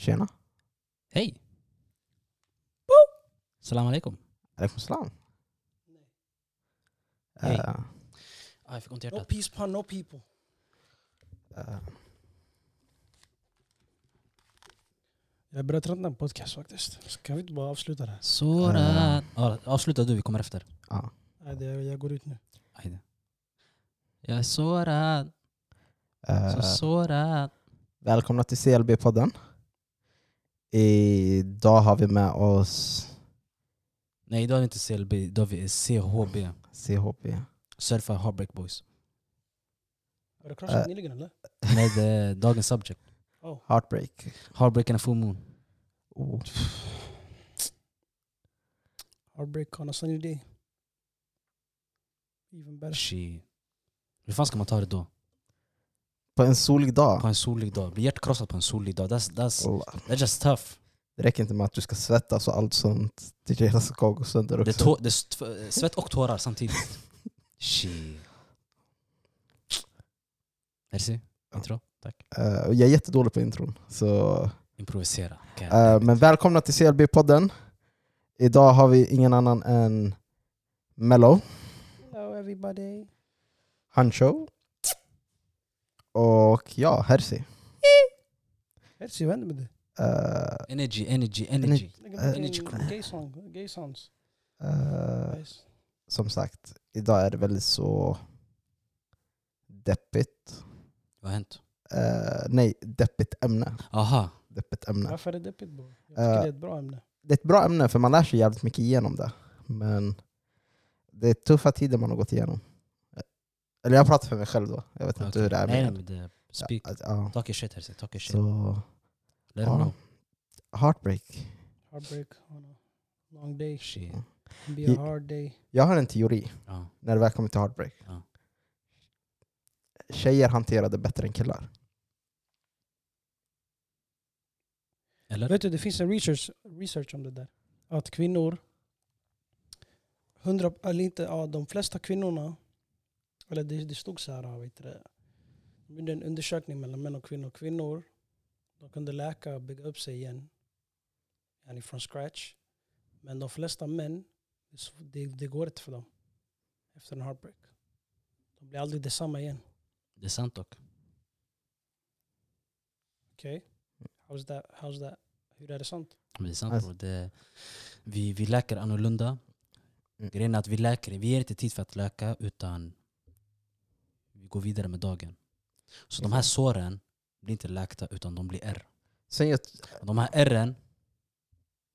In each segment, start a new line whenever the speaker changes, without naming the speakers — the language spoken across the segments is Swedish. Tjena.
Hej! Salam alaikum.
Alaikum salam.
Hej.
Eh,
Ah, jag fick ont i
No
hjärtat.
peace upon no people.
eh,
Jag börjar tröttna på podcast faktiskt. Så kan vi inte bara avsluta det här?
Sådan. Ah, avsluta du, vi kommer efter.
ja.
Nej, det, jag går ut nu.
Ajde. Jag är sårad,
Eh,
så sårad.
Välkomna till CLB-podden. Idag har vi med oss
Nej, idag är det inte CLB, idag är vi CHB.
CHB.
Surfa Heartbreak Boys.
Har du kraschat
Äh.
nyligen eller? Oh,
Med eh, dagens subject.
Heartbreak.
Heartbreak and a full moon.
Oh.
Heartbreak on a sunny day. Even better.
Shit. Hur fan ska man ta det då?
På en solig
På
dag.
en solig dag? Bli hjärtkrossad på en solig dag? That's, that's,
Allah.
that's just tough.
Det räcker inte med att du ska svettas och allt sånt. Det är hela ska gå sönder
Det är,
också.
tå- det är st- svett och tårar samtidigt. Shit. Merci. Intro. Tack.
Eh, och jag är jättedålig på intron. Så,
Improvisera. Okay.
eh, men välkomna till CLB-podden. Idag har vi ingen annan än Mello,
Hello everybody.
Hancho och ja, Hersi.
Hertz, vad händer med dig?
Eh,
energy, energy, energy.
Lägg upp
Äh.
Energy
en
crew.
Gay song. Gay sounds.
eh,
Nice.
som sagt, idag är det väldigt så deppigt.
Vad har hänt?
Eh, nej, deppigt ämne.
Aha.
Deppigt ämne.
Varför är det deppigt bror? Jag
Äh.
tycker det är ett bra ämne.
Det är ett bra ämne för man lär sig jävligt mycket igenom det. Men det är tuffa tider man har gått igenom. Eh, Eller jag pratar för mig själv då. Jag vet inte
Okej.
hur det är
Nej,
med
nej,
er.
men det speak.
Ja, att- ja.
Talk your shit Herzi. Talk your shit.
Så,
Let
ja.
them know.
heartbreak.
Heartbreak on a long day.
Shit.
Can be
Ge-
a hard day.
Jag har en teori
Ja.
när det väl kommer till heartbreak.
Ja.
Tjejer hanterar det bättre än killar.
Eller?
Vet du, det finns en research, research om det där. Att kvinnor, 100, eller inte, ja, de flesta kvinnorna, eller det, det stod så här, ja, vet du, det, de gjorde en undersökning mellan män och kvinnor. Kvinnor, de kunde läka och bygga upp sig igen, yani från scratch. Men de flesta män, det är sv- det, det går inte för dem efter en heartbreak. De blir aldrig detsamma igen.
Det är sant dock.
Okej? How's that? How's that? Hur är det sant?
Men Det är sant
Alltså-
bror. Det, vi, vi läker annorlunda.
Mm.
Grejen är att vi läker, vi ger inte tid för att läka utan vi går vidare med dagen. Så
Mm.
de här såren blir inte läkta utan de blir ärr.
Sen jag,
Och De här ärren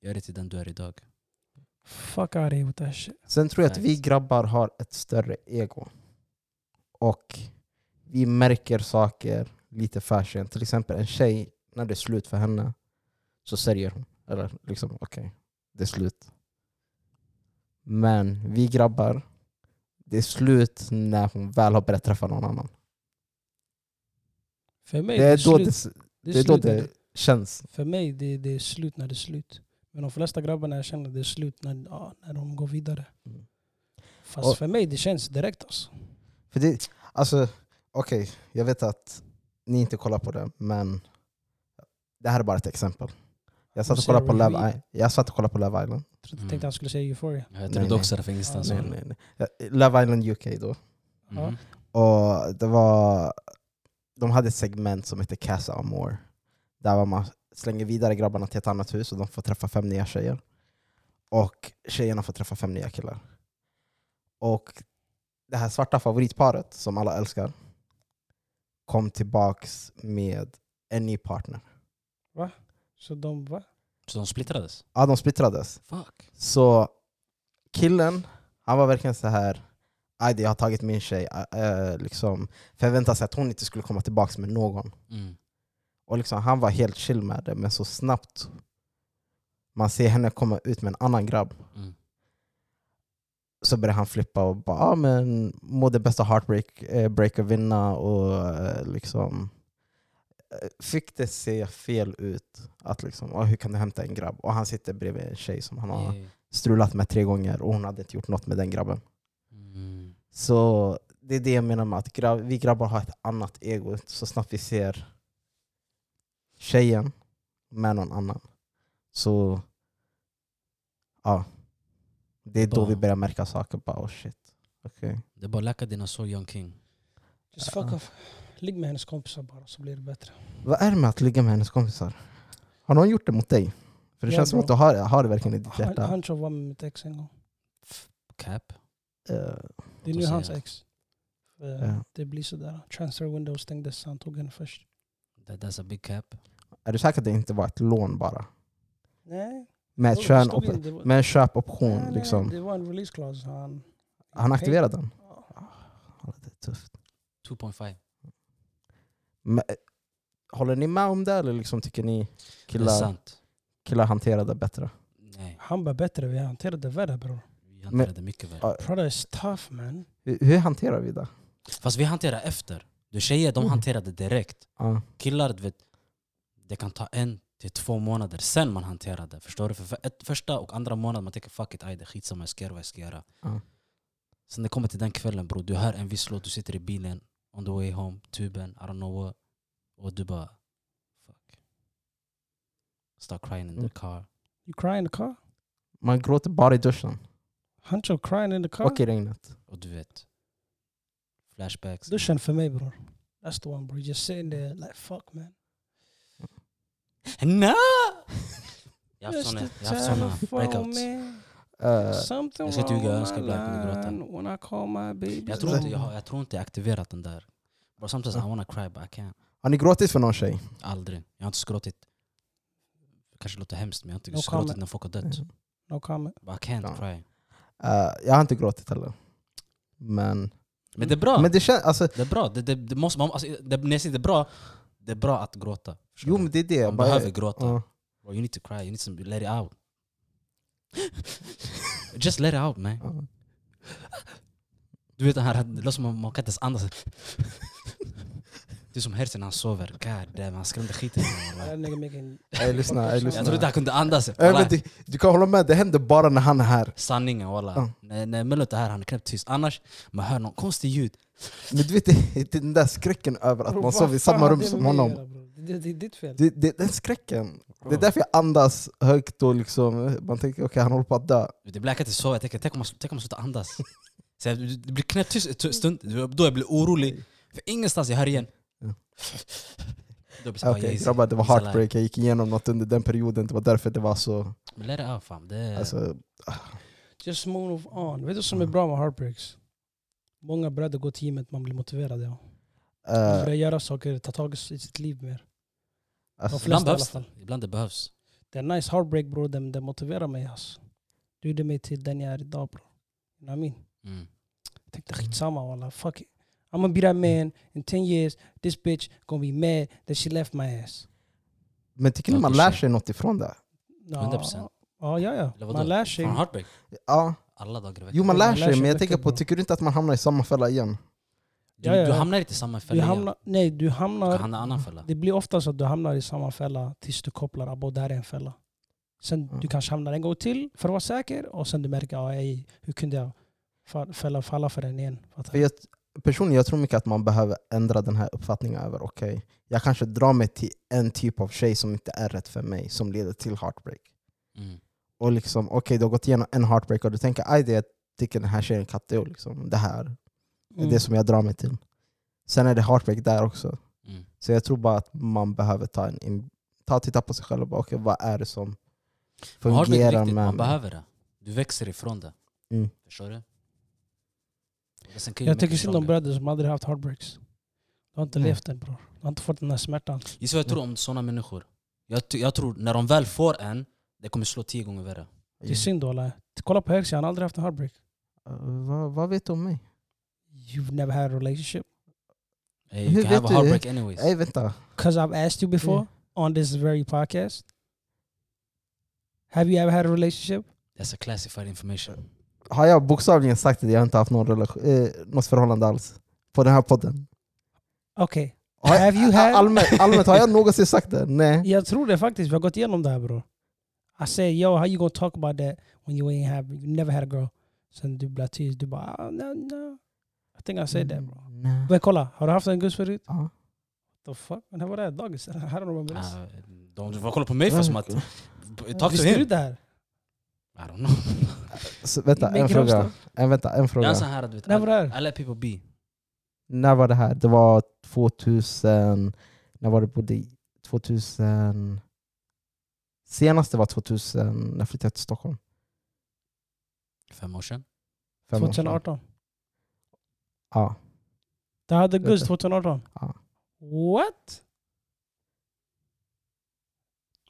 gör dig till den du är idag.
Fuck out of here with that shit.
sen tror jag att vi
Facts.
grabbar har ett större ego. Och vi märker saker lite för sent. Till exempel en tjej, när det är slut för henne så säljer hon. Eller liksom, okej, det är slut. Men vi grabbar, det är slut när hon väl har börjat träffa någon annan.
För mig,
Det är då
slut.
det, det, är då
slut när
det känns.
För mig, det, det är slut när det är slut. Men de flesta grabbarna jag känner, det är slut när, ja, när de går vidare.
Mm.
Fast
Och-
för mig, det känns direkt alltså.
För det, alltså, okej, jag vet att ni inte kollar på det, men det här är bara ett exempel. Jag satt och
Ser du
kollade på
vad
Love,
vi-
I- jag satt och kollade på Love Island.
Jag trodde-
Mm.
tänkte han skulle säga euphoria.
Jag
Nej,
trodde
nej.
också det från ingenstans.
Ja.
Nej, nej, nej. Ja, Love Island UK då.
Mhm.
Och det var, de hade ett segment som hette Casa Amor. Där var man slänger vidare grabbarna till ett annat hus och de får träffa fem nya tjejer. Och tjejerna får träffa fem nya killar. Och det här svarta favoritparet som alla älskar kom tillbaks med en ny partner.
Så de, va?
Så de splittrades?
Ja, de splittrades.
Fuck.
Så killen, han var verkligen så här Ajde, jag har tagit min tjej, äh, äh, liksom, förväntade sig att hon inte skulle komma tillbaks med någon.
Mm.
Och liksom, han var helt chill med det, men så snabbt man ser henne komma ut med en annan grabb
Mm.
så börjar han flippa och bara ah, men må det bästa heartbreak eh, break och vinna och eh, liksom eh, fick det se fel ut. Att liksom, ah, hur kan du hämta en grabb? Och han sitter bredvid en tjej som han har
Yeah.
strulat med tre gånger och hon hade inte gjort något med den grabben.
Mm.
Så det är det jag menar med att grabb, vi grabbar har ett annat ego. Så snabbt vi ser tjejen med någon annan. Så ja, det är då
Bara-
vi börjar märka saker. Bara oh shit. Okej.
Det är bara läka dina sår Young King.
Just
Ja.
fuck off. Ligg med hennes kompisar bara så blir det bättre.
Vad är det med att ligga med hennes kompisar? Har någon gjort det mot dig? För det
Ja,
känns som
bro.
att du har, har det verkligen i ditt
Han,
hjärta.
han tror jag var med mitt ex en gång.
Cap.
Eh,
Det är
Då
nu
säger
hans
jag.
ex. Eh,
Ja.
Det blir sådär. Transfer window stängdes så han tog henne först.
That, that's a big cap.
är du säker att det inte var ett lån bara?
Nej.
Med, ett
det
kön,
stod
op-
in, det var-
med en
Nej,
köpoption
nej,
liksom.
Det var en release clause. Han,
Han aktiverade den.
Ja.
Ja, Det är tufft.
2.5.
Men, eh, håller ni med om det eller liksom tycker ni
Det är
killar,
sant.
killar hanterar det bättre?
Nej,
Han var bättre, vi hanterade det värre bror.
vi hanterade mycket värre.
Ja,
Brother is tough man.
Hur, hur hanterar vi det?
Fast vi hanterade efter. Du tjejer, de
Mm.
hanterade direkt.
Ja,
killar, du vet, det kan ta en till två månader sen man hanterar det. Förstår du? För för ett, första och andra månaden man tänker fuck it, aj, det är skitsamma, jag ska göra vad jag ska göra.
Ja.
Sen det kommer till den kvällen bro, du hör en viss låt, du sitter i bilen, on the way home, tuben, I don't know what. Och du bara fuck. Start crying in
Mm.
the car.
You cry in the car?
man gråter bara i duschen
Hancho crying in the car?
och i regnet.
Och du vet, flashbacks.
Duschen för mig bror. That's the one bror. Just sitting there like fuck man.
No! Jag har haft såna- jag har haft såna breakouts.
Eh,
Something
Jag ska
wrong
ljuga, jag
with
ska
my
bara kunna gråta.
line When I call my baby.
Jag tror inte jag, har- jag tror inte jag aktiverat den där. But sometimes I wanna cry but I can't.
har ni gråtit för någon tjej?
Aldrig. Jag har inte skråtit. Det kanske låter hemskt men jag har inte
No
skråtit
comment.
när folk har
Mm.
dött.
No comment.
But I can't
Ja.
cry.
Eh, jag har inte gråtit heller. Men,
Men det är bra.
men det känns... Alltså,
Det är bra. Det, det, det måste, man, alltså, det, när jag säger det är bra, det är bra att gråta. Förstår
jo
du?
men det är det.
Man
Bara-
behöver gråta.
ja.
Bro, you need to cry, you need to let it out. Just let it out man.
Ja.
Du vet den här, det låter som man, man kan inte ens andas. Det är som Herzen när han sover. God damn, han skrämde skiten ur mig.
That nigga making...
Ey, lyssna, ey, lyssna.
Jag trodde han kunde andas.
Eh, men du, du kan hålla med, det händer bara när han är här.
Sanningen walla.
Ja.
När, när Mello inte är här, han är knappt tyst. Annars, man hör någon konstig ljud.
Men du vet det- den där skräcken över att man
Bror, vad
sover i
fan
samma
har
rum
det
som
med mig att
honom.
göra, bror? Det det är ditt fel.
Det, det, den skräcken. Det är därför jag andas högt och liksom, man tänker okej han håller på att dö.
Det blir inte så. Jag tänker, tänk om man, tänk om man slutar andas. Så jag, det blir knäpptyst en tu- stund, då jag blir orolig. För ingenstans jag hör igen.
Ja.
Då blir jag
Okej
okay, Jesus.
grabbar, det var
he's alive.
heartbreak, jag gick igenom något under den perioden, det var därför det var så...
Men let it out fam. Det är,
Alltså,
Just move on. Vet du vad som är bra med heartbreaks? Många bröder går till gymmet, man blir motiverad. Ja. Man
eh,
börjar göra saker, ta tag i s- i sitt liv mer.
alltså,
de flesta
ibland,
i alla
behövs det. ibland det behövs.
Det är nice heartbreak bror, den, den motiverar mig alltså. Du gjorde mig till den jag är idag bror. You know what I mean?
Mm.
Jag tänkte skitsamma walla, fuck it. I'm gonna be that man in 10 years, this bitch gonna be mad that she left my ass.
men tycker ni
Ja,
man
det
lär
är
sig något ifrån det?
Ja,
100%.
Ja, ja,
Eller
ja.
vadå?
Man lär sig.
Från heartbreak.
Ja,
Alla dagar i veckan.
jo man lär sig, men jag
mycket,
tänker på,
bro.
tycker du inte att man hamnar i samma fälla igen?
Du,
Ja, ja,
du
ja.
hamnar inte i samma
Du
fälla igen.
hamnar, nej, du
Du
hamnar...
kan hamna i en annan fälla.
Det blir ofta så att du hamnar i samma fälla tills du kopplar att det här är en fälla. Sen
Mm.
du kanske hamnar en gång till för att vara säker och sen du märker att ej, hur kunde jag fa- fälla, falla för den igen? Fattar
För
du?
jag, personligen, jag tror mycket att man behöver ändra den här uppfattningen över, okej, jag kanske drar mig till en typ av tjej som inte är rätt för mig, som leder till heartbreak.
Mm.
och liksom, okej du har gått igenom en heartbreak och du tänker aj det jag tycker den här tjejen är katteo, liksom. det här är
Mm.
det som jag drar mig till. Sen är det heartbreak där också.
Mm.
Så jag tror bara att man behöver ta en in, ta och titta på sig själv och bara okej vad är det som
Men heartbreak är
fungerar
viktigt,
med
Man
mig?
behöver det. Du växer ifrån det.
Mm.
Förstår du? Och sen kan ju
Jag tycker
mycket
synd om
stronger.
bröder som aldrig haft heartbreaks. Du har inte
Mm.
levt den bror. Du har inte fått den här smärtan.
Gissa vad jag tror om sådana människor. Jag, ty- jag tror när de väl får en, det kommer slå tio gånger värre.
Det är synd walla. Kolla på Herzi, han har aldrig haft en heartbreak.
Eh, vad, vad vet du om mig?
You've never had a relationship.
Hey,
Hur
you can
vet
have a
du
heartbreak anyways.
Ey vänta,
Cause I've asked you before
Mm.
on this very podcast. Have you ever had a relationship?
That's a classified information.
har jag bokstavligen sagt det? Jag har inte haft någon relation, eh, något förhållande alls på den här podden.
Okej.
Har jag-
Have you had-
allmänt, allmänt, har jag någonsin sagt det? Nej.
Jag tror det faktiskt. Vi har gått igenom det här bror. I said yo, how you gonna talk about that when you ain't have, you never had a girl? Sen du blir tyst. Du bara ah, no no. I think I said that
Mm.
bro.
Nej.
Men kolla, har du haft en guzz förut?
Ja.
The fuck? När var det? här? Dagis? I don't remember this.
Ah, De, du får kolla på mig för som att... Talk to
Visste du
him.
det här?
I don't know.
Så, vänta,
Make
en
it
fråga.
up,
En, Eh, vänta, en
Det är
fråga.
så här, du vet.
När var det
I,
här?
I let people be.
När var det här? Det var 2000... När var det bodde i? 2000... Senaste var 2000, när jag flyttade till Stockholm.
Fem år sedan.
Fem år sedan.
2018.
Ja.
Det hade Gust 2018?
Ja.
What?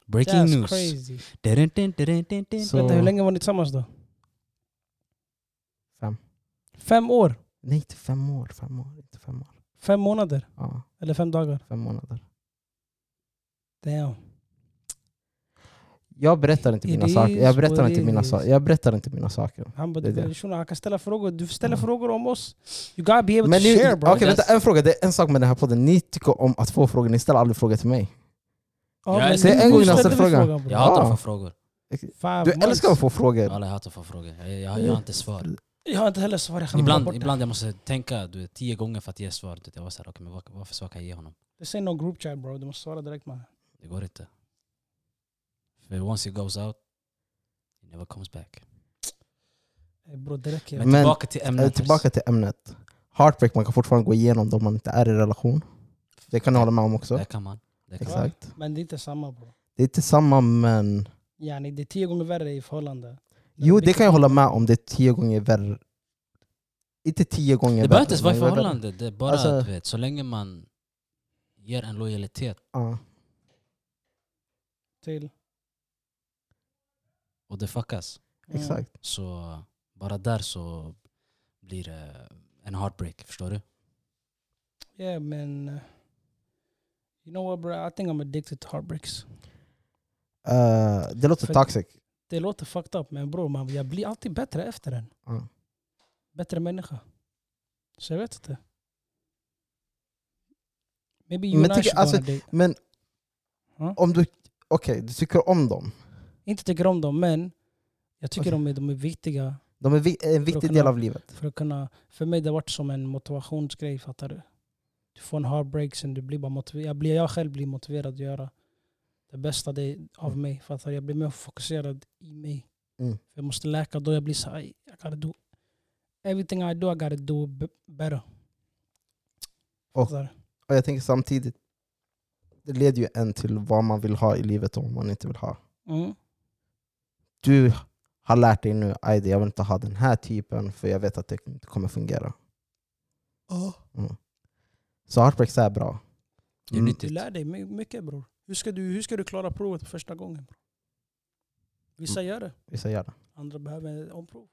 Breaking
That's
news.
crazy.
Dun, dun, dun, dun, dun.
Så-
Vänta, hur länge var ni tillsammans då?
Fem.
Fem år?
Nej, inte fem år. Fem år, inte fem år.
Fem månader?
Ja,
Eller fem dagar?
fem månader.
Damn.
Jag berättar inte
It
mina saker. Jag
is
berättar
what
inte
it
mina
is.
saker. Jag berättar inte mina saker.
Han bara,
Det är
du,
det.
shunon, han kan ställa frågor. Du ställer
Ja.
frågor om oss. You gotta be able
Men
to
ni,
share bro.
okej, vänta,
That's-
en fråga. Det är en sak med den här podden. Ni tycker om att få frågor. Ni ställer aldrig frågor till mig.
Ja,
Jag
men
älskar-
nu
en gång innan jag
ställde
ställde
vi
frågan.
bro.
Jag hatar att
Ja.
få frågor.
Five
Du
months.
älskar att få frågor.
Alla jag hatar att få frågor. Jag, jag, jag, har inte svar.
Jag har inte heller svarat. Jag glömde
Ibland,
bort det.
ibland jag måste tänka du vet, tio gånger för att ge svar. Du vet, Jag var såhär, okej men vad- vad för svar kan jag ge honom?
This ain't no group chat bro. Du måste svara direkt man.
Det går inte. För once it goes out, it never comes back.
Eh, Bro, det räcker.
Men,
Men-
tillbaka till
Eh,
ämnet.
Tillbaka till ämnet. Heartbreak, man kan fortfarande gå igenom det om man inte är i relation. Det kan jag hålla med om också.
Där kan man. Där kan man.
Exakt.
Men det är inte samma bro.
Det är inte samma men...
Yani, det är tio gånger värre i förhållande.
Jo, det kan jag hålla med om. Det är tio gånger värre. Inte tio gånger
Det
värre.
behöver inte ens vara i
men värre.
förhållande. Det är bara
Alltså-
du vet, så länge man ger en lojalitet
Ja.
Till.
och det fuckas.
Mm.
Exakt.
Så eh, bara där så blir det en heartbreak. Förstår du?
Yeah men... eh, You know what bro? I think I'm addicted to heartbreaks.
Eh, det låter
För-
toxic.
Det låter fucked up men bro, man, jag blir alltid bättre efter den.
Ja.
Bättre människa. Så jag vet inte. Maybe
Men
you and I
tycker-
should go
alltså-
on a date.
Men
Ja.
om du... Okej, du tycker om dem.
Inte tycker om dem men jag tycker
Okej.
de, är, de är viktiga.
De är vi- en viktig
kunna-
del av livet.
För, att kunna, för mig det har varit som en motivationsgrej, fattar du? Du får en heartbreak sen du blir bara motiverad. Jag, blir, jag själv blir motiverad att göra det bästa det, av mig. Fattar du? Jag blir mer fokuserad i mig.
Mm.
För jag måste läka då. Jag blir så här, "Aj, I gotta do everything I do, I gotta do b- better.
Och-
Fattar du?
Och jag tänker samtidigt, det leder ju en till vad man vill ha i livet och vad man inte vill ha.
Mm.
Du har lärt dig nu, Aide, jag vill inte ha den här typen för jag vet att det inte kommer fungera. Mm. Så heartbreaks är bra.
Det är
Mm.
Du
nyttigt.
lär dig my- mycket bror. Hur ska du, hur ska du klara provet på första gången? Bror? Vissa
Mm.
gör det,
Vissa gör det.
andra behöver omprov.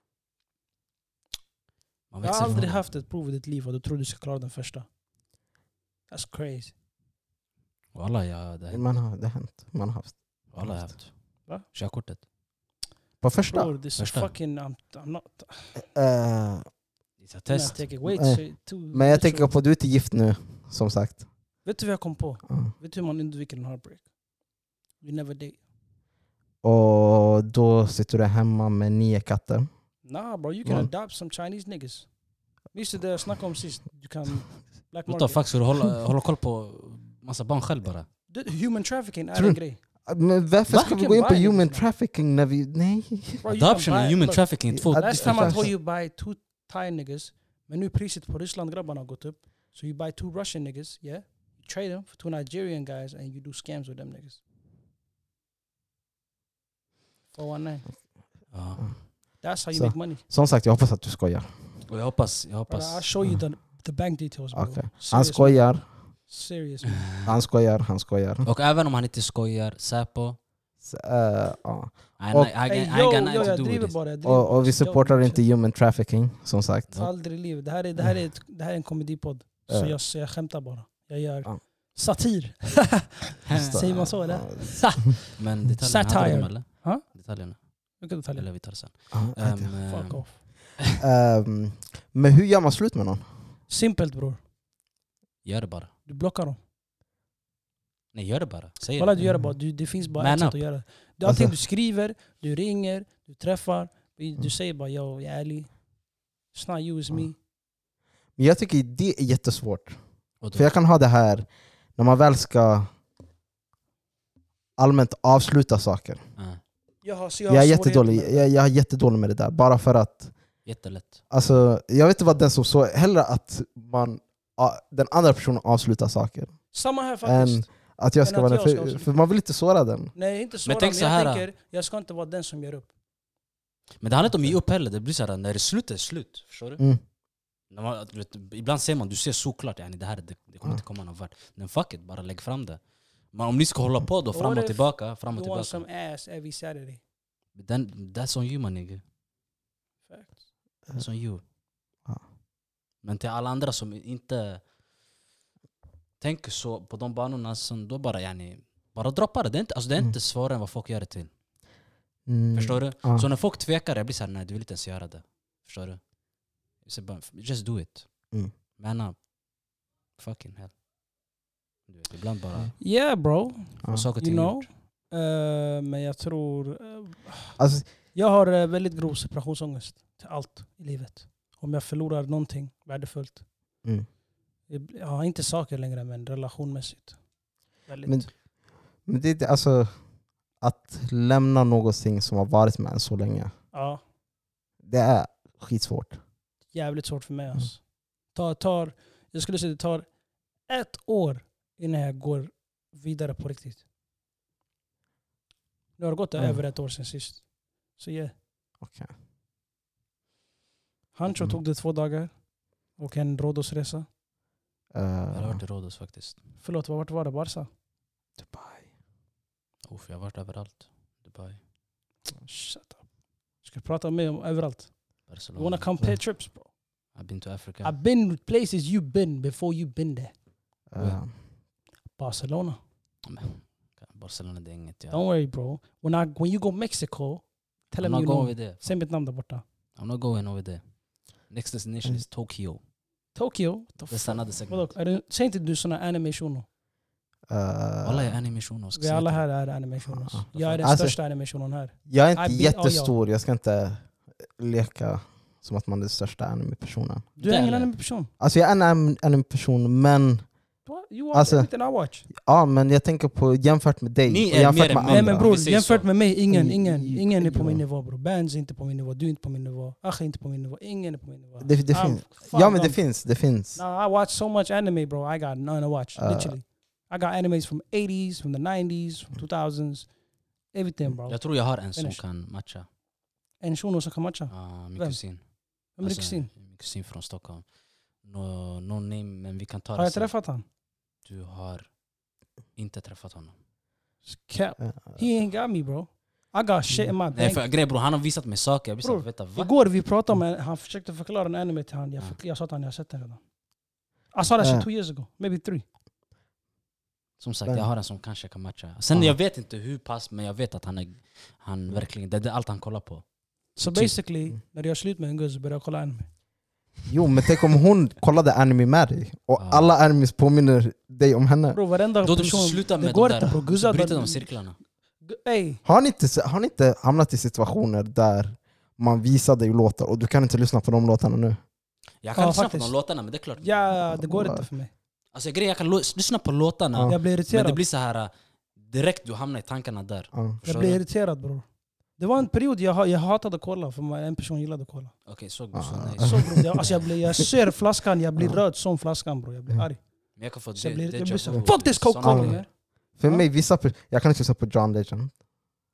Man
Jag
växer
har
ifrån
aldrig
det.
haft ett prov i ditt liv och du tror du ska klara den första. That's crazy.
Walla, jag, det,
Man har, det har hänt. Man har haft.
walla, jag har haft.
Va?
Körkortet.
På första?
Bror, this is
Första.
fucking... I'm, I'm not...
Eh,
It's a
Test.
test.
I'm taking way
Nej.
too, too
men jag tänker
literal.
på, du är inte gift nu, som sagt.
Vet du vad jag kom på?
Ja.
Vet du hur man undviker en heartbreak? You never date.
Och då sitter du hemma med nio katter.
Nah bro, you can
Man.
adopt some Chinese niggas. Vi just det jag snackade om sist. Du kan... Black
What the
market.
fuck, ska du hålla, hålla koll på massa barn själv bara?
Det- Human trafficking är
Tror
en
du-
grej.
Men varför
Va?
ska vi
Vilken
gå in på
vibe,
human
liksom.
trafficking när vi... Nej.
Bro, you can
Adoption
buy-
och human
look,
trafficking, två
Last
Last
Ja,
time I
precis.
told you buy two Thai niggas, men nu priset på Ryssland grabbarna har gått upp. So you buy two Russian niggas, yeah? You trade them for two Nigerian guys and you do scams with them niggas. 419.
Ja.
That's how you
Så.
make money.
Som sagt, jag hoppas att du skojar.
Och jag hoppas, jag
Brother,
hoppas...
I'll show you the, the bank details bro.
Okej. Han
Serious,
skojar,
Serious. man.
han skojar, han skojar.
Och även om han inte skojar, Säpo...
Så, eh, ja.
I,
Och-
I, I, I, I
Hey, yo,
got
yo,
nothing to
jag
do
driver
with this.
bara. Jag driver.
och, och vi supportar
Yo,
inte human trafficking, som sagt.
Aldrig i livet. Det här är, det här är, ett, det här är en komedipodd. Så
Eh.
jag, så jag skämtar bara. Jag gör
Ja.
satir. Eh, Säger man så, eller?
Men detaljerna hade
Satire.
de eller?
Ha?
Detaljerna?
Mycket detaljer.
Eller vi tar det sen.
Ja,
Ehm,
okej.
Fuck
eh,
off.
Ehm, men hur gör man slut med någon?
Simpelt bror.
gör det bara.
Du blockar dem.
Nej, gör det bara. Säg
Kolla
det.
du gör det bara. Du, det finns bara
Man
ett sätt
up.
att göra det. Du,
Alltså-
antingen du skriver, du ringer, du träffar. Du, du
Mm.
säger bara yo, jag är ärlig. It's not you, it's
Ja.
me.
Mm.
Men jag tycker det är jättesvårt.
Och då-
För jag kan ha det här, när man väl ska allmänt avsluta saker.
Ja.
Jaha, så jag
Jag,
har
är
svårigheter
jättedålig,
med det.
jag, jag är jättedålig med det där, bara för att
Jättelätt.
Alltså, jag vet inte vad den som så hellre att man, ja, den andra personen avslutar saker.
Samma här faktiskt.
Att jag
Än
ska
att
vara den,
jag ska
för,
avsluta.
för man vill inte såra den.
Nej, inte så.
Men
Men,
tänk så
jag
här,
tänker, jag ska inte vara den som ger upp.
Men det handlar inte om att ge upp heller, det blir såhär när det slutar, slut. Förstår du?
Mm.
När man, du vet, ibland ser man, du ser såklart yani det här det, det kommer
Ja.
inte komma någon vart. Men fuck it, bara lägg fram det. Men om ni ska hålla på då,
What
fram och
if
tillbaka, fram och
You want
tillbaka.
some ass every Saturday.
Then, that's on you my nigga.
Facts.
That's on you.
Ja.
Men till alla andra som inte tänker så på de banorna, sen då bara yani, bara droppa det. Det är inte, alltså, det är
Mm.
inte svårare än vad folk gör det till.
Mm.
Förstår du?
Ja.
Så när folk tvekar, jag blir såhär, nej du vill inte ens göra det. Förstår du? Jag säger bara, just do it.
Mm.
Man up. Fucking hell. Du vet, ibland bara,
Yeah bro,
Ja.
få saker och
you
ting
know.
gjort.
Eh, men jag tror... eh,
Alltså,
jag har eh, väldigt grov separationsångest till allt i livet. Om jag förlorar någonting värdefullt.
mm.
Jag har inte saker längre men relationmässigt. Väldigt.
Men- Men det, är inte- alltså, att lämna någonting som har varit med en så länge,
ja,
det är skitsvårt.
jävligt svårt för mig
Mm.
alltså. Ta, tar, jag skulle säga det tar ett år innan jag går vidare på riktigt. Nu har det gått
Mm.
över ett år sedan sist. Så yeah.
Okej.
Hancho
Mm.
tog det två dagar. Och en Rhodos-resa.
Jag har
Eh,
varit i Rhodos faktiskt.
Förlåt, vart var det? Barca?
Dubai.
Uff, jag har varit överallt. Dubai,
Shut up. Ska du prata med mig om överallt? You wanna
Barcelona.
compare trips bro?
I've been to Africa.
I've been places you've been before you've been there.
Eh,
Barcelona.
Men, Barcelona det är inget jag...
Don't worry bro. When, I, when you go Mexico, tell
I'm
them
not
you
going
know.
with there.
Säg mitt namn där borta.
I'm not going over there. Next destination
Mm.
is Tokyo.
Tokyo? What the
That's
fuck?
another
Vadå,
segment.
är det, säg inte du såna anime shuno.
eh,
Alla är anime shunos.
Vi alla här är anime shunos.
Ah,
Ja,
Jag är den
Alltså-
största anime shunon här.
jag är
I
inte
be- ja, ja.
jättestor, jag ska inte leka som att man är den största anime-personen.
Du är ingen anime-person.
Alltså jag är en anim- anime-person, men
You watch
Alltså-
everything I watch.
Ja, men jag tänker på jämfört med dig
Ni
och
är
jämfört
mer
med
än mig.
andra.
Nej men
bro-
bror,
precis
jämfört
så.
med mig, ingen,
Mm,
ingen,
mm,
ingen är på
mm.
min nivå bror. Bands är inte på min nivå, du är inte på min nivå, Asch är inte på min nivå, ingen är på min nivå.
Det, det
I'm
finns.
fucked
Ja men det
up.
finns, det finns.
Nah, I watch so much anime bro, I got none to watch,
Uh,
literally. I got animes from 80s, from the 90s, from 2000s, everything bro.
Jag tror jag har en som
Finish.
kan matcha.
En shuno som kan matcha.
Ah, min
Vem?
kusin.
Vem är din
Alltså,
kusin?
Min kusin från Stockholm. No, no name, men vi kan ta
Har
det
jag
sen.
träffat han?
Du har inte träffat honom.
Cap.
Eh,
He ain't got me bro. I got shit in my bank.
Nej för grejen bror, han har visat mig saker. Jag blir såhär,
Bror,
vänta va?
Igår vi pratade om en, han försökte förklara en anime till han. Jag,
Ja.
förkl- jag sa att han, jag har sett den redan. I saw that shit
Ja.
two years ago, maybe three.
Som sagt,
Vem?
jag har en som kanske kan matcha. Sen
Ah.
jag vet inte hur pass, men jag vet att han är, han verkligen, det, det är allt han kollar på.
Så
Typ.
basically,
Mm.
när jag gör slut med en guzz börjar jag kolla anime.
Jo men tänk om hon kollade anime med dig och
Ja.
alla animes påminner dig om henne.
Bro, varenda
Då de
person...
måste sluta med
det går
de
inte
där,
bro,
så
guzzar...
bryter de cirklarna.
gu- Ey,
Har ni, inte, se- har ni inte hamnat i situationer där man visar dig låtar och du kan inte lyssna på de låtarna nu?
Jag kan
Ja,
lyssna på
faktiskt.
de låtarna men det är klart.
ja, det går inte för mig.
Alltså grejen jag kan lo- lyssna på låtarna,
Ja.
Jag blir
men det
irriterad.
blir så här äh, direkt du hamnar i tankarna där.
Ja.
Jag
Förstår
blir
du?
irriterad bror. Det var en period jag, ha- jag hatade att kolla, för man- en person gillade att kolla.
Okej, såg du så?
Ah.
Nej.
Så bror, jag, alltså jag, blir, jag ser flaskan, jag blir röd som flaskan bror. Jag blir
Mm.
arg.
Men jag kan få det.
Så jag blir,
det
jag blir
jobbigt.
så, Fuck this
Såna
Ja.
coke
grejer.
ja.
För
Ja.
mig, vissa, per- jag kan inte lyssna på John Legend.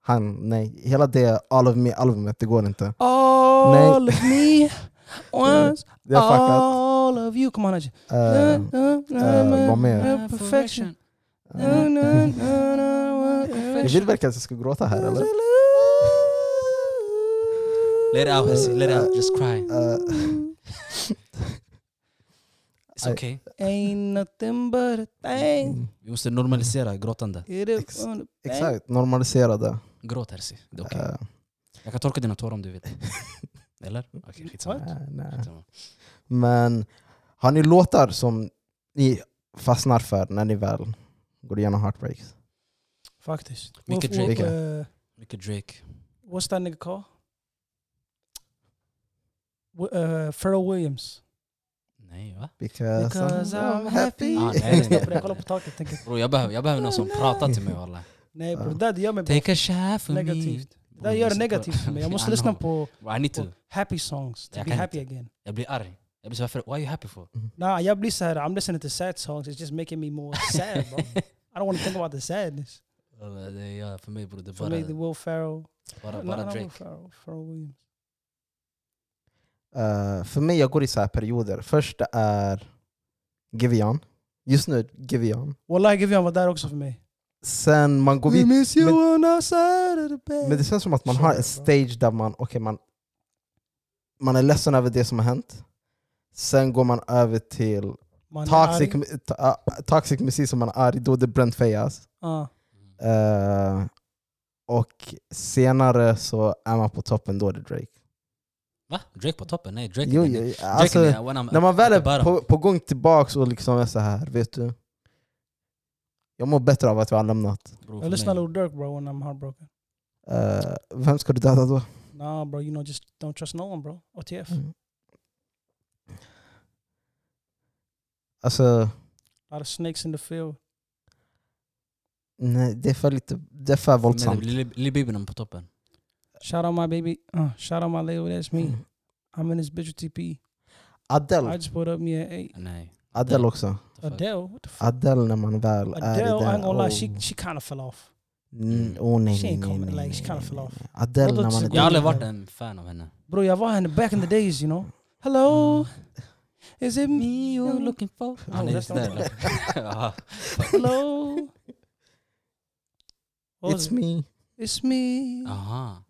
Han, nej. Hela det All of Me-albumet, det går inte.
All of me once
Det är fuckat.
all of you. Come on, Haji.
Eh, eh, vad mer?
Perfection.
eh. Jag vill
Perfection.
verkligen att jag ska gråta här eller?
Let it out, Hesi. Let it out. Just cry.
Eh, Ah.
It's okay.
Ain't nothing but a thing.
Vi måste normalisera gråtande.
It
Mm.
is
Ex-
on the bank.
exakt, normalisera det.
Gråt Herzi. Det är okej.
Eh,
Jag kan torka dina tårar om du vill. Eller? Okej, skitsamma.
nej, nej.
Skitsamma.
Men har ni låtar som ni fastnar för när ni väl går igenom heartbreaks?
Faktiskt.
Mycket
Wolf- Wolf-
Drake.
eh,
Mycket Drake.
What's that nigga called? Wi-
uh,
eh, Pharrell Williams.
Nej, va?
Because, I'm happy.
Ah, nej, nej, nej.
Kolla på taket tänker
Bro, jag behöver, jag behöver någon som pratar till mig walla.
Nej bror,
Ja.
det där det gör mig bara
Take a shot for me.
negativt. Det där gör det
Lyssna på-
negativt för mig. Jag
I
måste lyssna
know.
på,
Bro, I need to.
på happy songs to
Jag
be
kan
happy again.
Jag blir arg. Jag blir så varför, why are you happy for?
Nah, jag blir såhär, I'm listening to sad songs, it's just making me more sad bro. I don't want to think about the sadness.
Eller, det är jag- För mig bror, det är
For me, the
bara,
Will Ferrell.
bara,
No,
bara
not Will
Drake.
Ferrell, Pharrell Williams.
Eh, för mig, jag går i så här perioder. Först det är Givian. Just nu Givian.
Wallahi, Givian var där också för mig.
Sen man går
We
vidare.
miss you
men-
on our side of the bed.
Men det känns som att man
Så
har
är det,
en
va?
stage där man, okay, man, man är ledsen över det som har hänt. Sen går man över till
Man är
toxic,
arg.
ta- ah, toxic musik som man är arg, då är det Brent Fayas.
Ja.
Mm.
Eh, och senare så är man på toppen, då är det Drake.
Va? Drake på toppen? Nej, Drake
Jo,
nej,
jo,
nej. Drake
alltså,
är when I'm
när man
at
väl
the
är
bottom.
på, på gång tillbaks och liksom är så här, vet du. Jag mår bättre av att vi har lämnat.
Bror, för
Jag lyssnar
mig.
Lil Durk bro when I'm heartbroken.
Eh, vem ska du döda då?
Nah bro, you know just don't trust no one bro. OTF.
Mm. Alltså,
A lot of snakes in the field.
nej, det är för lite, det är för
För mig,
våldsamt.
det blir Lil- Lil Baby när han är på toppen.
Shout out my baby. Uh, shout out my label, that's me.
Mm.
I'm in this bitch with TP. I
Adele,
just put up me at 8.
Nej.
Adele också.
the fuck.
Adele, what the fuck?
Adele när man väl är i
Adele, I ain't
den.
gonna lie, she,
oh.
she kind of fell off.
Mm, oh, nej,
She
nej,
ain't
nej,
coming,
nej,
like,
nej,
she
nej,
kinda fell
nej.
off.
Adele när
Vadå,
man
så
är
går
Jag har
där.
aldrig varit en fan av henne.
Bro, jag var henne back in the days, you know. Hello, is it me you're looking
for?
Oh,
Han är
that's
inte
not
där. Jaha.
Hello. What was
It's
it?
me.
It's me.
Jaha.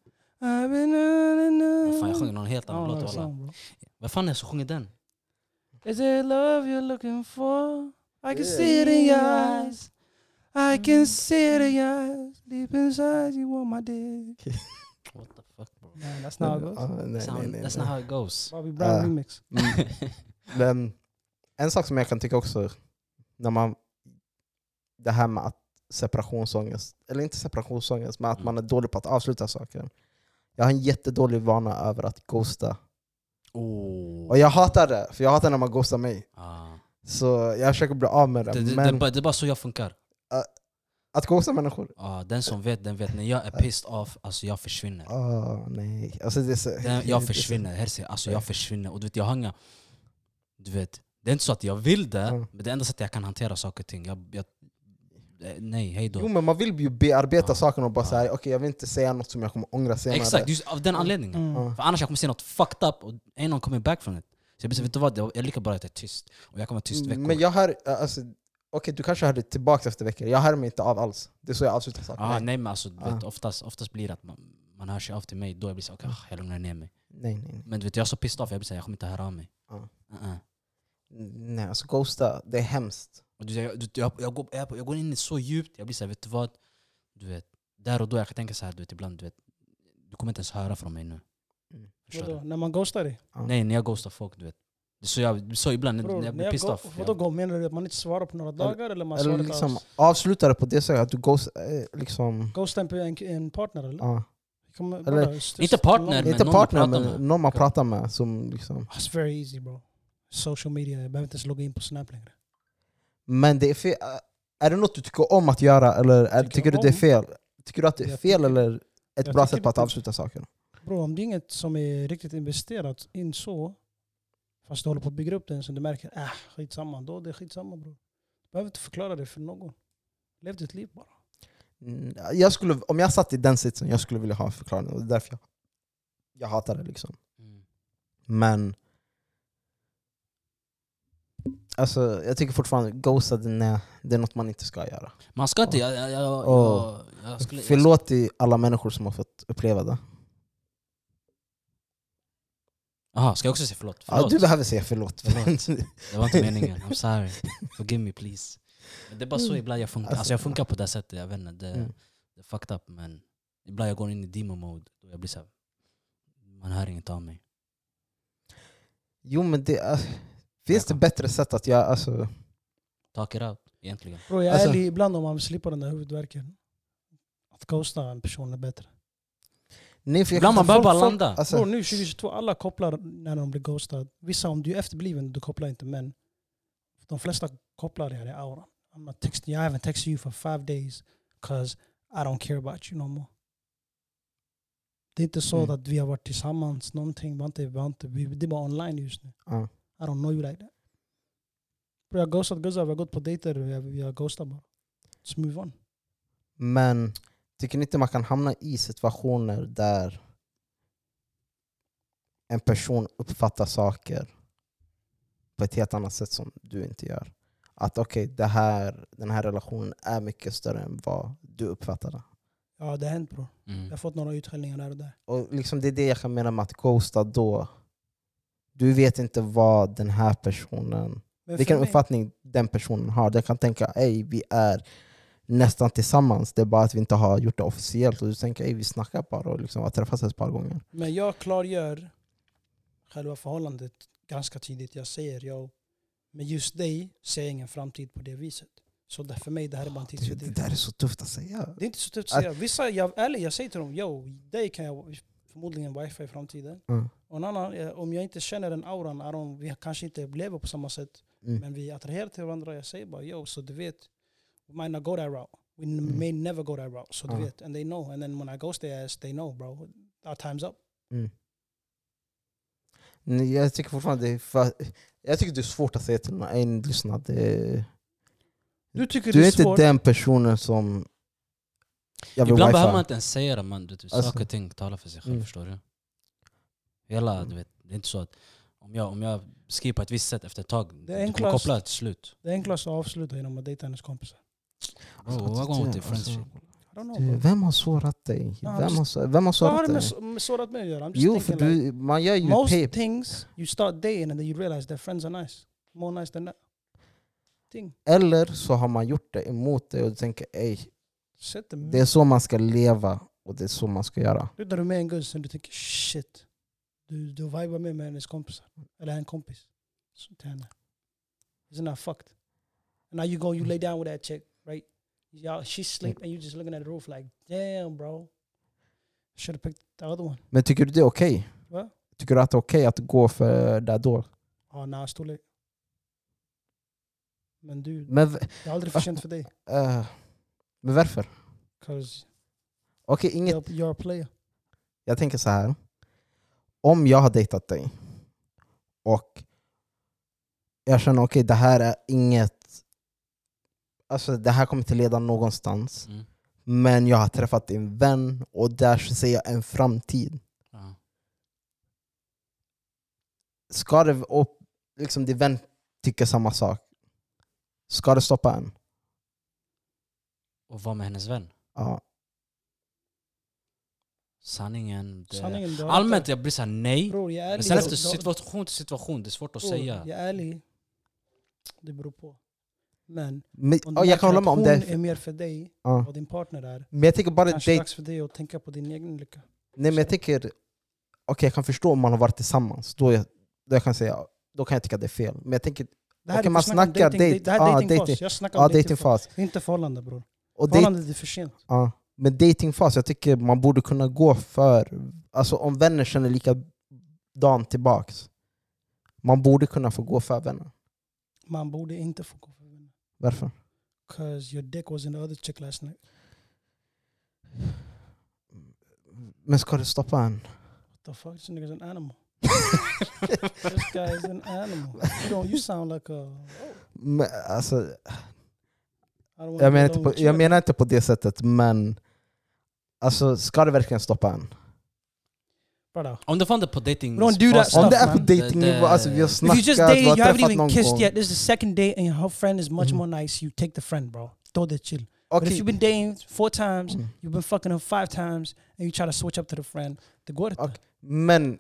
I've been na, na, na.
Fan, jag sjunger någon helt
I don't
annan
know the
låt walla.
song, bro.
Vad fan är det som sjunger den?
Is it love you're looking for? I can see it in your eyes. I can see it in your eyes. Deep inside you want my dick.
What the fuck bro?
Man, that's not how it goes.
uh,
Ah, nej, nej,
That's, how,
nej,
that's
nej.
not how it goes.
Bobby Brown
Ah.
remix.
Mm. Men en sak som jag kan tycka också, när man, det här med att separationsångest, eller inte separationsångest, men att
Mm.
man är dålig på att avsluta saker. Jag har en jättedålig vana över att ghosta.
Oh.
Och jag hatar det, för jag hatar när man ghostar mig.
Ah.
Så jag försöker bli av med det.
Det, det, det, är
men
bara- det är bara så jag funkar.
att ghosta människor?
Ah, den som vet, den vet. När jag är pissed off, alltså jag försvinner.
Åh, nej. Alltså, det är så,
Den,
det är
jag
så-
försvinner, herse. Alltså jag försvinner. Och du vet, jag har inga... Du vet, det är inte så att jag vill det,
Mm.
men det enda sättet jag kan hantera saker och ting. Jag, jag, eh, nej, hej då.
Jo men man vill ju bearbeta
Ja.
saken och bara
Ja.
såhär, okej jag vill inte säga något som jag kommer ångra senare.
Exakt, just av den anledningen.
Mm.
Ja.
För annars jag kommer se något fucked up och ain't någon coming back from it. Så jag bestämde, vet du vad? Jag är lika bra att jag är tyst. Och jag kommer vara tyst veckor.
Mm, Men jag hör, alltså, okej du kanske hör det tillbaka efter veckor, jag hör mig inte av alls. Det är så jag avslutar saker.
ah,
nej.
nej men alltså, du vet,
Ah.
oftast, oftast blir det att man, man hör sig av till mig, då jag blir så, okay, ah, jag lugnar ner mig.
nej, nej, nej.
Men du vet, jag är så pissed off, jag blir såhär, jag kommer inte höra av mig.
Ja.
Uh-uh.
Nej, alltså ghosta, det är hemskt.
Och du, vet, jag, du, vet, jag, jag, går, jag, jag går in så djupt, jag blir såhär, vet du vad? Du vet, där och då, jag kan tänka såhär, du vet ibland, du vet, du kommer inte ens höra från mig nu.
Mm.
Förstår
Vadå,
du?
när man ghostar dig?
Nej, när jag ghostar folk, du vet. Det är så, jag, det är så ibland,
Bror,
när jag blir pissed
go-
off.
Vadå
jag,
gå? Menar du att man inte svarar på några dagar eller man
eller
svarar inte
liksom,
alls? Mm.
avsluta det på det sättet, att du ghost, eh, liksom...
Ghosta en, en, en partner
Uh,
eller?
ja.
Kommer,
Eller-
bara st-
Inte
st-
partner,
långt-
men
inte
någon
partner,
man pratar
men
med.
någon man
Okej.
pratar med. Som liksom.
It's very easy bro. Social media, jag behöver inte ens logga in på Snap längre.
Men det är fel. eh, Är det något du tycker om att göra, eller är, tycker,
Tycker
du det är
om?
fel? Tycker du att det är
Jag
fel,
tycker-
eller ett
jag
bra
tycker
sätt på att
det-
avsluta saker?
Bro, om det är inget som är riktigt investerat in så, fast du håller på att bygga upp den så du märker ah, skitsamma, då är det skitsamma bro. Du behöver inte förklara det för någon. Lev ditt liv bara.
Mm, Jag skulle, om jag satt i den sitsen, jag skulle vilja ha en förklaring. och Det är därför jag, jag hatar det. liksom.
Mm.
Men... Alltså, jag tycker fortfarande ghosta, nej, det är något man inte ska göra.
Man ska inte, jag, jag, jag, jag,
Åh.
jag, jag skulle... Jag,
Förlåt till alla människor som har fått uppleva det.
aha, ska jag också säga förlåt?
Ja,
förlåt.
du behöver säga förlåt.
Förlåt. Det var inte meningen. I'm sorry. Forgive me please. Men det är bara
Mm.
så ibland jag funkar. Alltså, jag funkar på det sättet, jag vet inte. Det,
Mm.
det är fucked up men ibland jag går in i demon mode och jag blir såhär, man hör inget av mig.
jo men det... Äh, finns det bättre sätt att göra... Alltså,
Talk it out egentligen.
Bro, jag är
Alltså-
ärlig, ibland om man slipper den där huvudvärken. Att ghosta en person är bättre.
nej, för jag
Ibland
kan
man
ta-
behöver bara
folk- folk-
landa.
Alltså,
Bror nu 2022, alla kopplar när de blir ghostad. Vissa om du är efterbliven, du kopplar inte men de flesta kopplar det här i auran. I'm not texting, you, I haven't texted you for five days cause I don't care about you no more. Det är inte så
Mm.
att vi har varit tillsammans, någonting. Vi har inte, vi har inte, vi, det är bara online just nu.
Ja.
I don't know you like that. Bro, jag har ghostat guzzar, vi har gått på dejter, vi har, vi har ghostat bara. Let's move on.
Men tycker ni inte man kan hamna i situationer där en person uppfattar saker på ett helt annat sätt som du inte gör? Att okej, det här, den här relationen är mycket större än vad du uppfattar det.
Ja, det har hänt bror. Jag
Mm.
har fått några utskällningar där och där.
Och liksom det är det jag kan mena med att ghosta då. Du vet inte vad den här personen
Men
Vilken
för mig-
uppfattning den personen har. Den kan tänka ej vi är nästan tillsammans, det är bara att vi inte har gjort det officiellt. Och du tänker ej vi snackar bara och liksom har träffats ett par gånger.
Men jag klargör själva förhållandet ganska tidigt. Jag säger jag med just dig ser jag ingen framtid på det viset. Så där, för mig det här är bara en
Det, det
tidsfördriv.
där är så tufft att säga.
Det är inte så tufft att säga. Vissa, jag, ärligt, jag säger till dem, yo, dig kan jag förmodligen wifi i framtiden.
Mm.
Och en annan, eh, om jag inte känner den auran, I don't, vi kanske inte lever på samma sätt,
Mm.
men vi attraherar till varandra. Jag säger bara, yo, så du vet, we might not go that route. We n-
Mm.
may never go that route. Så
Ja.
du vet, and they know. And then when I ghost their ass, they know bro. Our time's up.
Mm. Nej, Jag tycker fortfarande det är för, jag tycker det är svårt att säga till någon, ej lyssna, det,
Du tycker
du
det
är
är
inte
svårt.
den personen som jag vill
Ibland behöver man
wifi.
inte ens säga det man. Du, vet,
Alltså.
Saker och ting talar för sig själv,
Mm.
förstår du? Hela,
Mm.
du vet, det är inte så att om jag, om jag skriver på ett visst sätt efter ett tag, du kommer
enklast.
koppla till slut.
Det är enklast att avsluta genom att dejta hennes kompisar.
Alltså,
Bro, what going with the friendship?
I don't know.
Du,
bro.
Vem har sårat dig?
Ja,
Vem har, så- vem har
Vad har
sårat
det med
dig?
så- med sårat mig att göra? I'm just
Jo, för
thinking like,
du, er man gör ju
most
pay-
things you start dating and then you realize that friends are nice. More nice than that. Thing.
Eller så har man gjort det emot dig och du tänker ej,
Sätt dig
det er- är så man ska leva och det är så man ska göra.
Du är med en guzz och du tänker shit. Du, du vibar med, med hennes kompisar. Eller en kompis. Så till henne. Isn't that fucked? And now you go, you lay down with that chick, right? Yeah, she's sleep and you're just looking at the roof like damn bro. Should have picked the other one.
Men tycker du det är okej?
Va?
Tycker du att det är okej att gå för det då?
Ja, nej, it's too late. Men du,
Men, v-
det är aldrig för sent för dig.
eh, men varför?
'Cause
Okej, inget.
you're, you're a player.
Jag tänker så här. Om jag har dejtat dig och jag känner okej, det här är inget... Alltså det här kommer inte leda någonstans.
Mm.
Men jag har träffat din vän och där ser jag en framtid.
Ja.
ska det, och liksom din vän tycker samma sak, ska det stoppa en?
Och vara med hennes vän.
Ja.
Sanningen. Det...
Sanningen, du har
Allmänt
inte-
jag blir såhär nej.
Bror, jag är
Men
ärlig.
sen efter
Du- du-
situation till situation, det är svårt att
Bror,
säga.
Jag är ärlig. Det beror på. Men
Men,
om
ja,
du
jag kan
märker
hålla
att
med om
hon
det.
är mer för dig än
Ja.
vad din partner är.
Men jag tänker bara
Kanske
dejt,
dags för dig att tänka på din egen lycka.
nej men jag tänker, okej jag kan förstå om man har varit tillsammans, då, jag, då, jag kan säga, då kan jag tycka det är fel. Men jag tänker,
Det här
Okej,
är
man
inte snack om
snackar
dating-
date-
Det här
ja,
är datingfas.
dating.
Jag snackar
ja
om datingfas.
datingfas.
Inte typ förhållande bror.
Och dejt,
Förhållandet är för sent.
ja. Men datingfas, jag tycker man borde kunna gå för, alltså om vänner känner likadant tillbaks, man borde kunna få gå för vänner.
Man borde inte få gå för vänner.
Varför?
Cause your dick was in the other chick last night.
Men ska det stoppa en?
What the fuck? This nigga's an animal. This guy is an animal. You, don't, you sound like a...
Men, alltså,
I don't wanna
Jag menar,
get
inte på,
along with
jag
you.
menar inte på det sättet, men alltså, ska det verkligen stoppa en?
Brother.
Om det fan det på dating...
Don't do that
Om
stuff,
det är på
man.
dejtingnivå, alltså vi har
If
snackat,
If you
vi
just dated,
har
you haven't
träffat någon
even kissed
gång.
yet. This is the second date, and her friend is much
Mhm.
more nice. You take the friend, bro. Throw the chill. But if
Okej,
you've been dating four times,
Mm.
you've been fucking her five times, and you try to switch up to the friend, the går
Okej. Men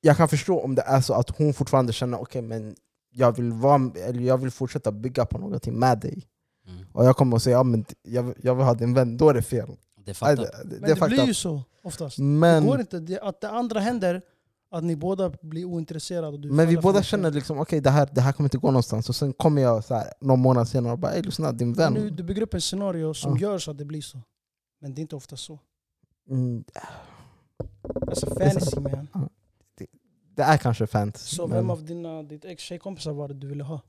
jag kan förstå om det är så att hon fortfarande känner okej, men jag vill, vara, eller jag vill fortsätta bygga på någonting med dig.
Mm.
Och jag kommer att säga ja, men jag, vill- jag vill ha din vän, då är det fel.
Det
Nej,
fattar.
Det, det,
Men
är
det, blir
fakta.
ju så oftast. det går
Men,
inte. Det, att det andra händer, att ni båda blir ointresserade. Och du
men vi
faller för
båda
något.
känner liksom okej, det, här, det här kommer inte gå någonstans. Och sen kommer jag så här, någon månad senare och bara ey lyssna, din
Men Nu,
vän.
du bygger upp ett scenario som
Ja.
gör så att det blir så. Men det är inte ofta så.
Mm,
That's a
Det är sant.
fantasy man.
Det är kanske fantasy.
Så
men-
vem av dina ditt ex tjejkompisar var det du ville ha?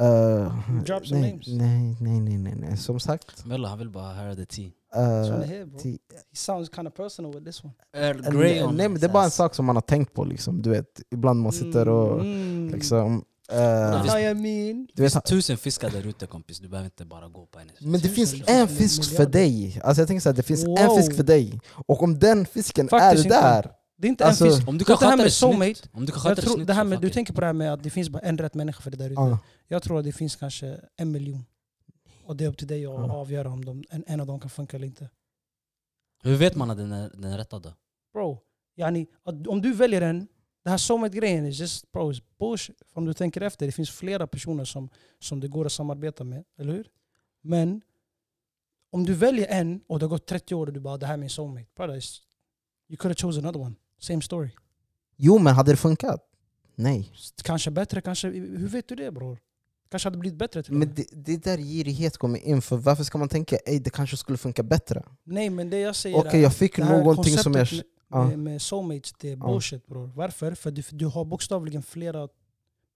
Eh,
Drop some
nej,
names.
nej, nej, nej, nej, nej. Som sagt.
Mella, han vill bara höra the tea.
That's what I
eh,
hear, bro.
ti-
He sounds kind of personal with this one.
Earl
en-
Grey
en-
on alltså.
nej, men
his
det är bara en
ass.
sak som man har tänkt på liksom. Du vet, ibland man sitter och
Mm.
liksom... eh,
You know
visst.
what I mean?
du vet,
Tusen fiskar där ute kompis, du behöver inte bara gå på en.
men det finns
Tusen
en fisk för
miljarder.
dig. Alltså jag tänker såhär, det finns en
Wow.
fisk för dig. Och om den fisken
Faktiskt
är
inte.
där,
Det är inte
Alltså,
en fisk.
Om du
Så
kan
det här
sköta
med
det
soulmate,
snyggt. Om du kan sköta
Jag
det
tror,
snyggt
det här
så
med,
fuck
du
it.
tänker på det här med att det finns bara en rätt människa för det där ute.
ja,
Jag tror att det finns kanske en miljon. Och det är upp till dig att
Ja.
avgöra om de, en, en av dem kan funka eller inte.
Hur vet man att den är den är rätta då?
Bro, yani, att- om du väljer en, det här soulmate-grejen är just bro, it's bullshit. Om du tänker efter, det finns flera personer som, som det går att samarbeta med, eller hur? Men om du väljer en och det har gått 30 år och du bara det här är min soulmate. Brother, it's- you could have chosen another one. Same story.
jo men hade det funkat? Nej.
Kanske bättre, kanske... Hur vet du det bror? Kanske hade blivit bättre till och med.
Men det, det är där girighet kommer in, för varför ska man tänka ej det kanske skulle funka bättre?
Nej men det jag säger
Okej, jag fick
det här
någonting som jag...
konceptet med-
Ja.
med, med soulmates, det är bullshit bror. Varför? För du, du har bokstavligen flera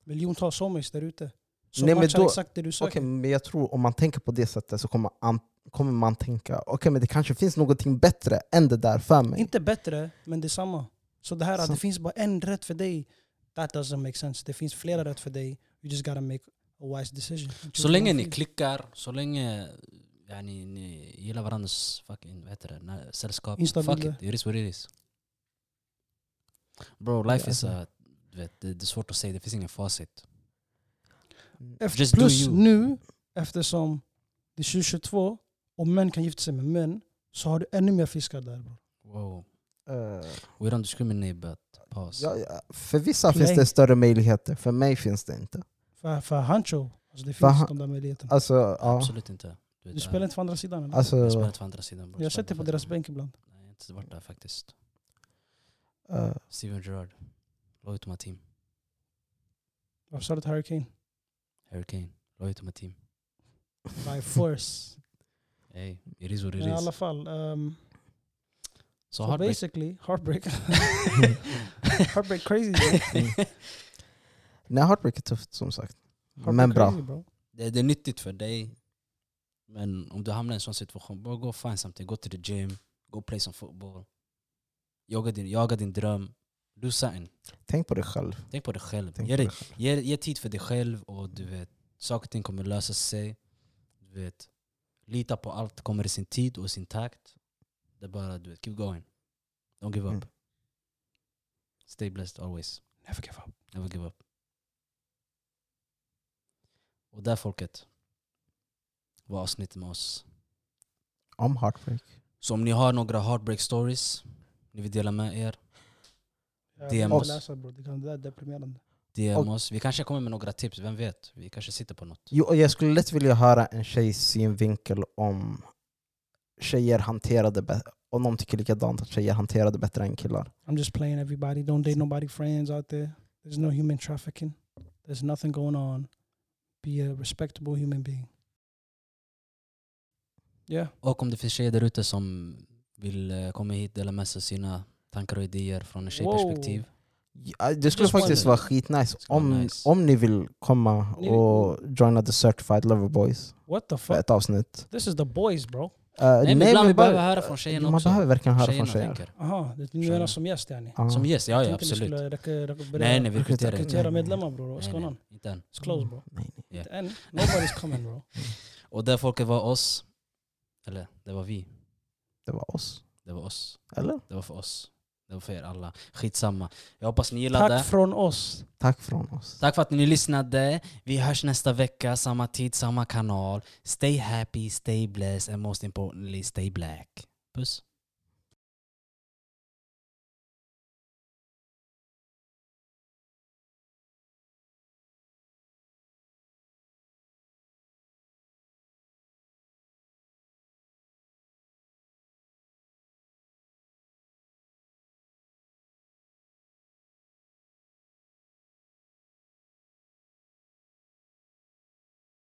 miljontals soulmates där ute. Som
Nej, men
matchar
då-
exakt det du söker.
Okej, men jag tror om man tänker på det sättet så kommer, an, kommer man tänka okej, men det kanske finns någonting bättre än det där för mig.
Inte bättre, men det är samma. Så det här att
Så-
det finns bara en rätt för dig, that doesn't make sense. Det finns flera rätt för dig. You just gotta make a wise decision.
Så länge ni klickar, så länge yani, ni gillar varandras fucking, vad heter det, när- sällskap.
Instabila.
Fuck it, it is what it is. Bro, life is
alltså.
a... Du vet, det, det är svårt att säga, det finns ingen facit.
Mm,
Efter-
Just do
Plus
you.
nu, eftersom det är 2022 och män kan gifta sig med män, så har du ännu mer fiskar där bror.
Wow.
Eh,
We don't discriminate but pause.
ja, ja, för vissa
Play.
finns det större möjligheter, för mig finns det inte.
För, för Hancho, alltså det
För
finns
han-
de där möjligheterna.
Alltså, ja.
Absolut inte. vet,
Du spelar inte för andra sidan eller?
Alltså,
jag spelar inte för andra sidan. Bro.
Jag har sett det på deras bänk ibland.
Nej, jag har inte varit där faktiskt.
eh,
Steven Gerrard. Loyal to my team.
Varför sa du till Hurricane?
Harry Kane. Loyal to my team.
By force.
Hey, it is what it
Men I alla
is.
fall. Um,
Så
so
har det...
basically, heartbreak. heartbreak crazy. Bro.
nej, heartbreak är tufft som sagt.
Heartbreak
Men bra.
crazy, bro.
det, det är nyttigt för dig. Men om du hamnar i en sån situation, bara gå och find something. Gå till the gym, gå och play some football. Jaga din, jaga din dröm. Do something.
Tänk på dig själv.
Tänk på dig själv.
Tänk
Ge,
på dig
dig,
själv.
ge, ge tid för dig själv och du vet, saker och ting kommer lösa sig. Du vet, lita på allt kommer i sin tid och i sin takt. Det är bara, du vet, keep going. Don't give up.
Mm.
Stay blessed always.
Never give up.
Never give up. Och där folket var avsnittet med oss.
Om heartbreak.
Så om ni har några heartbreak stories ni vill dela med er,
Jag
DM
vill
oss.
inte läsa bro. Det kan- det där är deprimerande.
DM
Och-
oss. Vi kanske kommer med några tips, vem vet? Vi kanske sitter på något.
Jo, och jag skulle lätt vilja höra en tjejs synvinkel om tjejer hanterade bättre, om någon tycker likadant, att tjejer hanterade bättre än killar.
I'm just playing everybody. Don't date nobody friends out there. There's no human trafficking. There's nothing going on. Be a respectable human being. Yeah.
Och om det finns tjejer där ute som vill eh, komma hit och dela med sig av sina tankar och idéer från en tjejperspektiv.
Ja, det skulle
Just
faktiskt vara
wonder.
skitnice
Skulle vara
om,
nice.
om ni vill komma
Ni-
och joina the certified lover boys
What the
för
fuck?
ett avsnitt.
This is the boys bro.
Eh,
men
nej,
ibland
men bara-
vi behöver höra från tjejerna
Man
också.
behöver verkligen höra
Tjejerna
från tjejer.
tänker.
Aha, det ni menar som gäst yani?
Ja.
Som yes, ja, ja
Tänkte ni
absolut.
skulle rek- rek- börja
Nej nej vi
Rekrytera-
rekryterar inte.
rekrytera medlemmar bror. What's
Nej,
going
nej,
on?
inte än.
It's close bro.
Nej, nej.
Ja.
Inte än. Nobody's coming bro.
Och det folket var oss. Eller det var vi.
Det var oss.
Det var oss.
Eller?
Det var för oss. Det var för er alla. Skitsamma. Jag hoppas ni gillade.
Tack från oss.
Tack från oss.
Tack för att ni lyssnade. Vi hörs nästa vecka, samma tid, samma kanal. Stay happy, stay blessed and most importantly stay black. Puss.